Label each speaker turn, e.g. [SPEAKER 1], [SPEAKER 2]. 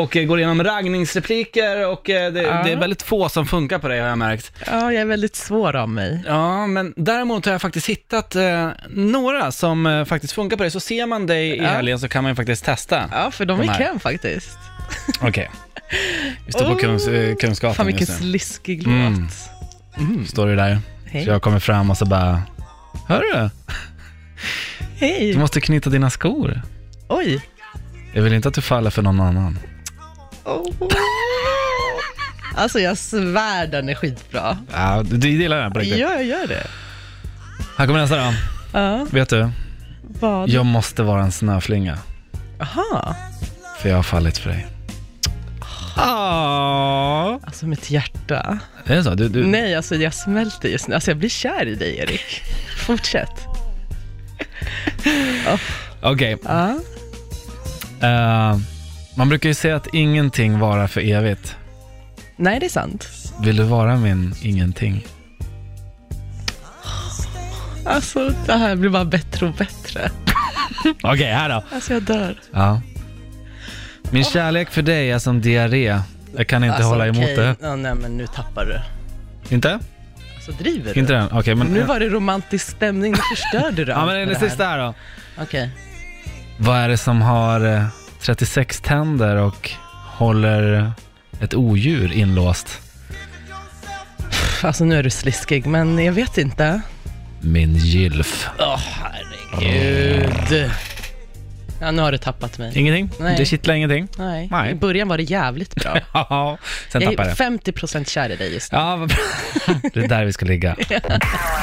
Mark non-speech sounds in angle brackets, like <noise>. [SPEAKER 1] och eh, går igenom raggningsrepliker och eh, det,
[SPEAKER 2] Ja.
[SPEAKER 1] det är väldigt få som funkar på dig har jag märkt.
[SPEAKER 2] Ja, jag är väldigt svår av mig.
[SPEAKER 1] Ja, men däremot har jag faktiskt hittat eh, några som eh, faktiskt funkar på dig, så ser man dig i
[SPEAKER 2] Ja.
[SPEAKER 1] helgen så kan man ju faktiskt testa.
[SPEAKER 2] Ja, för de
[SPEAKER 1] De
[SPEAKER 2] är
[SPEAKER 1] här.
[SPEAKER 2] kräm faktiskt.
[SPEAKER 1] Okej. Vi står på
[SPEAKER 2] Oh.
[SPEAKER 1] kungs, eh,
[SPEAKER 2] Fan
[SPEAKER 1] kunskapen
[SPEAKER 2] vilken
[SPEAKER 1] just nu.
[SPEAKER 2] sliskig
[SPEAKER 1] Mm.
[SPEAKER 2] låt.
[SPEAKER 1] Står du där, så
[SPEAKER 2] Hej.
[SPEAKER 1] jag kommer fram och så bara, hör du? Du
[SPEAKER 2] Hej.
[SPEAKER 1] måste knyta dina skor.
[SPEAKER 2] Oj.
[SPEAKER 1] Jag vill inte att du faller för någon annan.
[SPEAKER 2] Oh. Alltså jag svär den är skitbra.
[SPEAKER 1] Ja, du, du gillar den på riktigt.
[SPEAKER 2] Ja, jag gör det.
[SPEAKER 1] Här kommer nästa då.
[SPEAKER 2] Ja,
[SPEAKER 1] Vet du,
[SPEAKER 2] vad?
[SPEAKER 1] jag måste vara en snöflinga,
[SPEAKER 2] Aha.
[SPEAKER 1] för jag har fallit för dig. Åh.
[SPEAKER 2] Alltså mitt hjärta.
[SPEAKER 1] Det är så? Du, du,
[SPEAKER 2] Nej, alltså jag smälter just nu. Alltså jag blir kär i dig, Erik. Fortsätt.
[SPEAKER 1] Okej.
[SPEAKER 2] Ja.
[SPEAKER 1] Eh, man brukar ju säga att ingenting varar för evigt.
[SPEAKER 2] Nej, det är sant.
[SPEAKER 1] Vill du vara min ingenting?
[SPEAKER 2] Alltså det här blir bara bättre och bättre.
[SPEAKER 1] Okej, här då.
[SPEAKER 2] Alltså jag dör.
[SPEAKER 1] Ja. Min kärlek för dig är som diarré. Jag kan inte
[SPEAKER 2] alltså,
[SPEAKER 1] hålla emot
[SPEAKER 2] okej.
[SPEAKER 1] det.
[SPEAKER 2] Ja, nej, men nu tappar du.
[SPEAKER 1] Inte?
[SPEAKER 2] Alltså driver du?
[SPEAKER 1] Inte den? Okej, men... eh,
[SPEAKER 2] Nu var det romantisk stämning, nu
[SPEAKER 1] <laughs>
[SPEAKER 2] förstörde du
[SPEAKER 1] ja,
[SPEAKER 2] allt
[SPEAKER 1] men
[SPEAKER 2] med
[SPEAKER 1] den
[SPEAKER 2] det här.
[SPEAKER 1] sista här då.
[SPEAKER 2] Okej.
[SPEAKER 1] Vad är det som har eh, 36 tänder och håller ett odjur inlåst?
[SPEAKER 2] Pff, Alltså nu är du sliskig, men jag vet inte.
[SPEAKER 1] Min gilf.
[SPEAKER 2] Åh, herregud. Ja, nu har du tappat mig.
[SPEAKER 1] Ingenting?
[SPEAKER 2] Nej.
[SPEAKER 1] Det kittlar ingenting? <laughs>
[SPEAKER 2] Nej.
[SPEAKER 1] Nej.
[SPEAKER 2] I början var det
[SPEAKER 1] <laughs>
[SPEAKER 2] jävligt bra.
[SPEAKER 1] Ja, sen
[SPEAKER 2] Jag
[SPEAKER 1] tappar
[SPEAKER 2] är
[SPEAKER 1] det.
[SPEAKER 2] <laughs> 50% kär i dig just nu.
[SPEAKER 1] Ja, vad bra. Det är där vi ska ligga.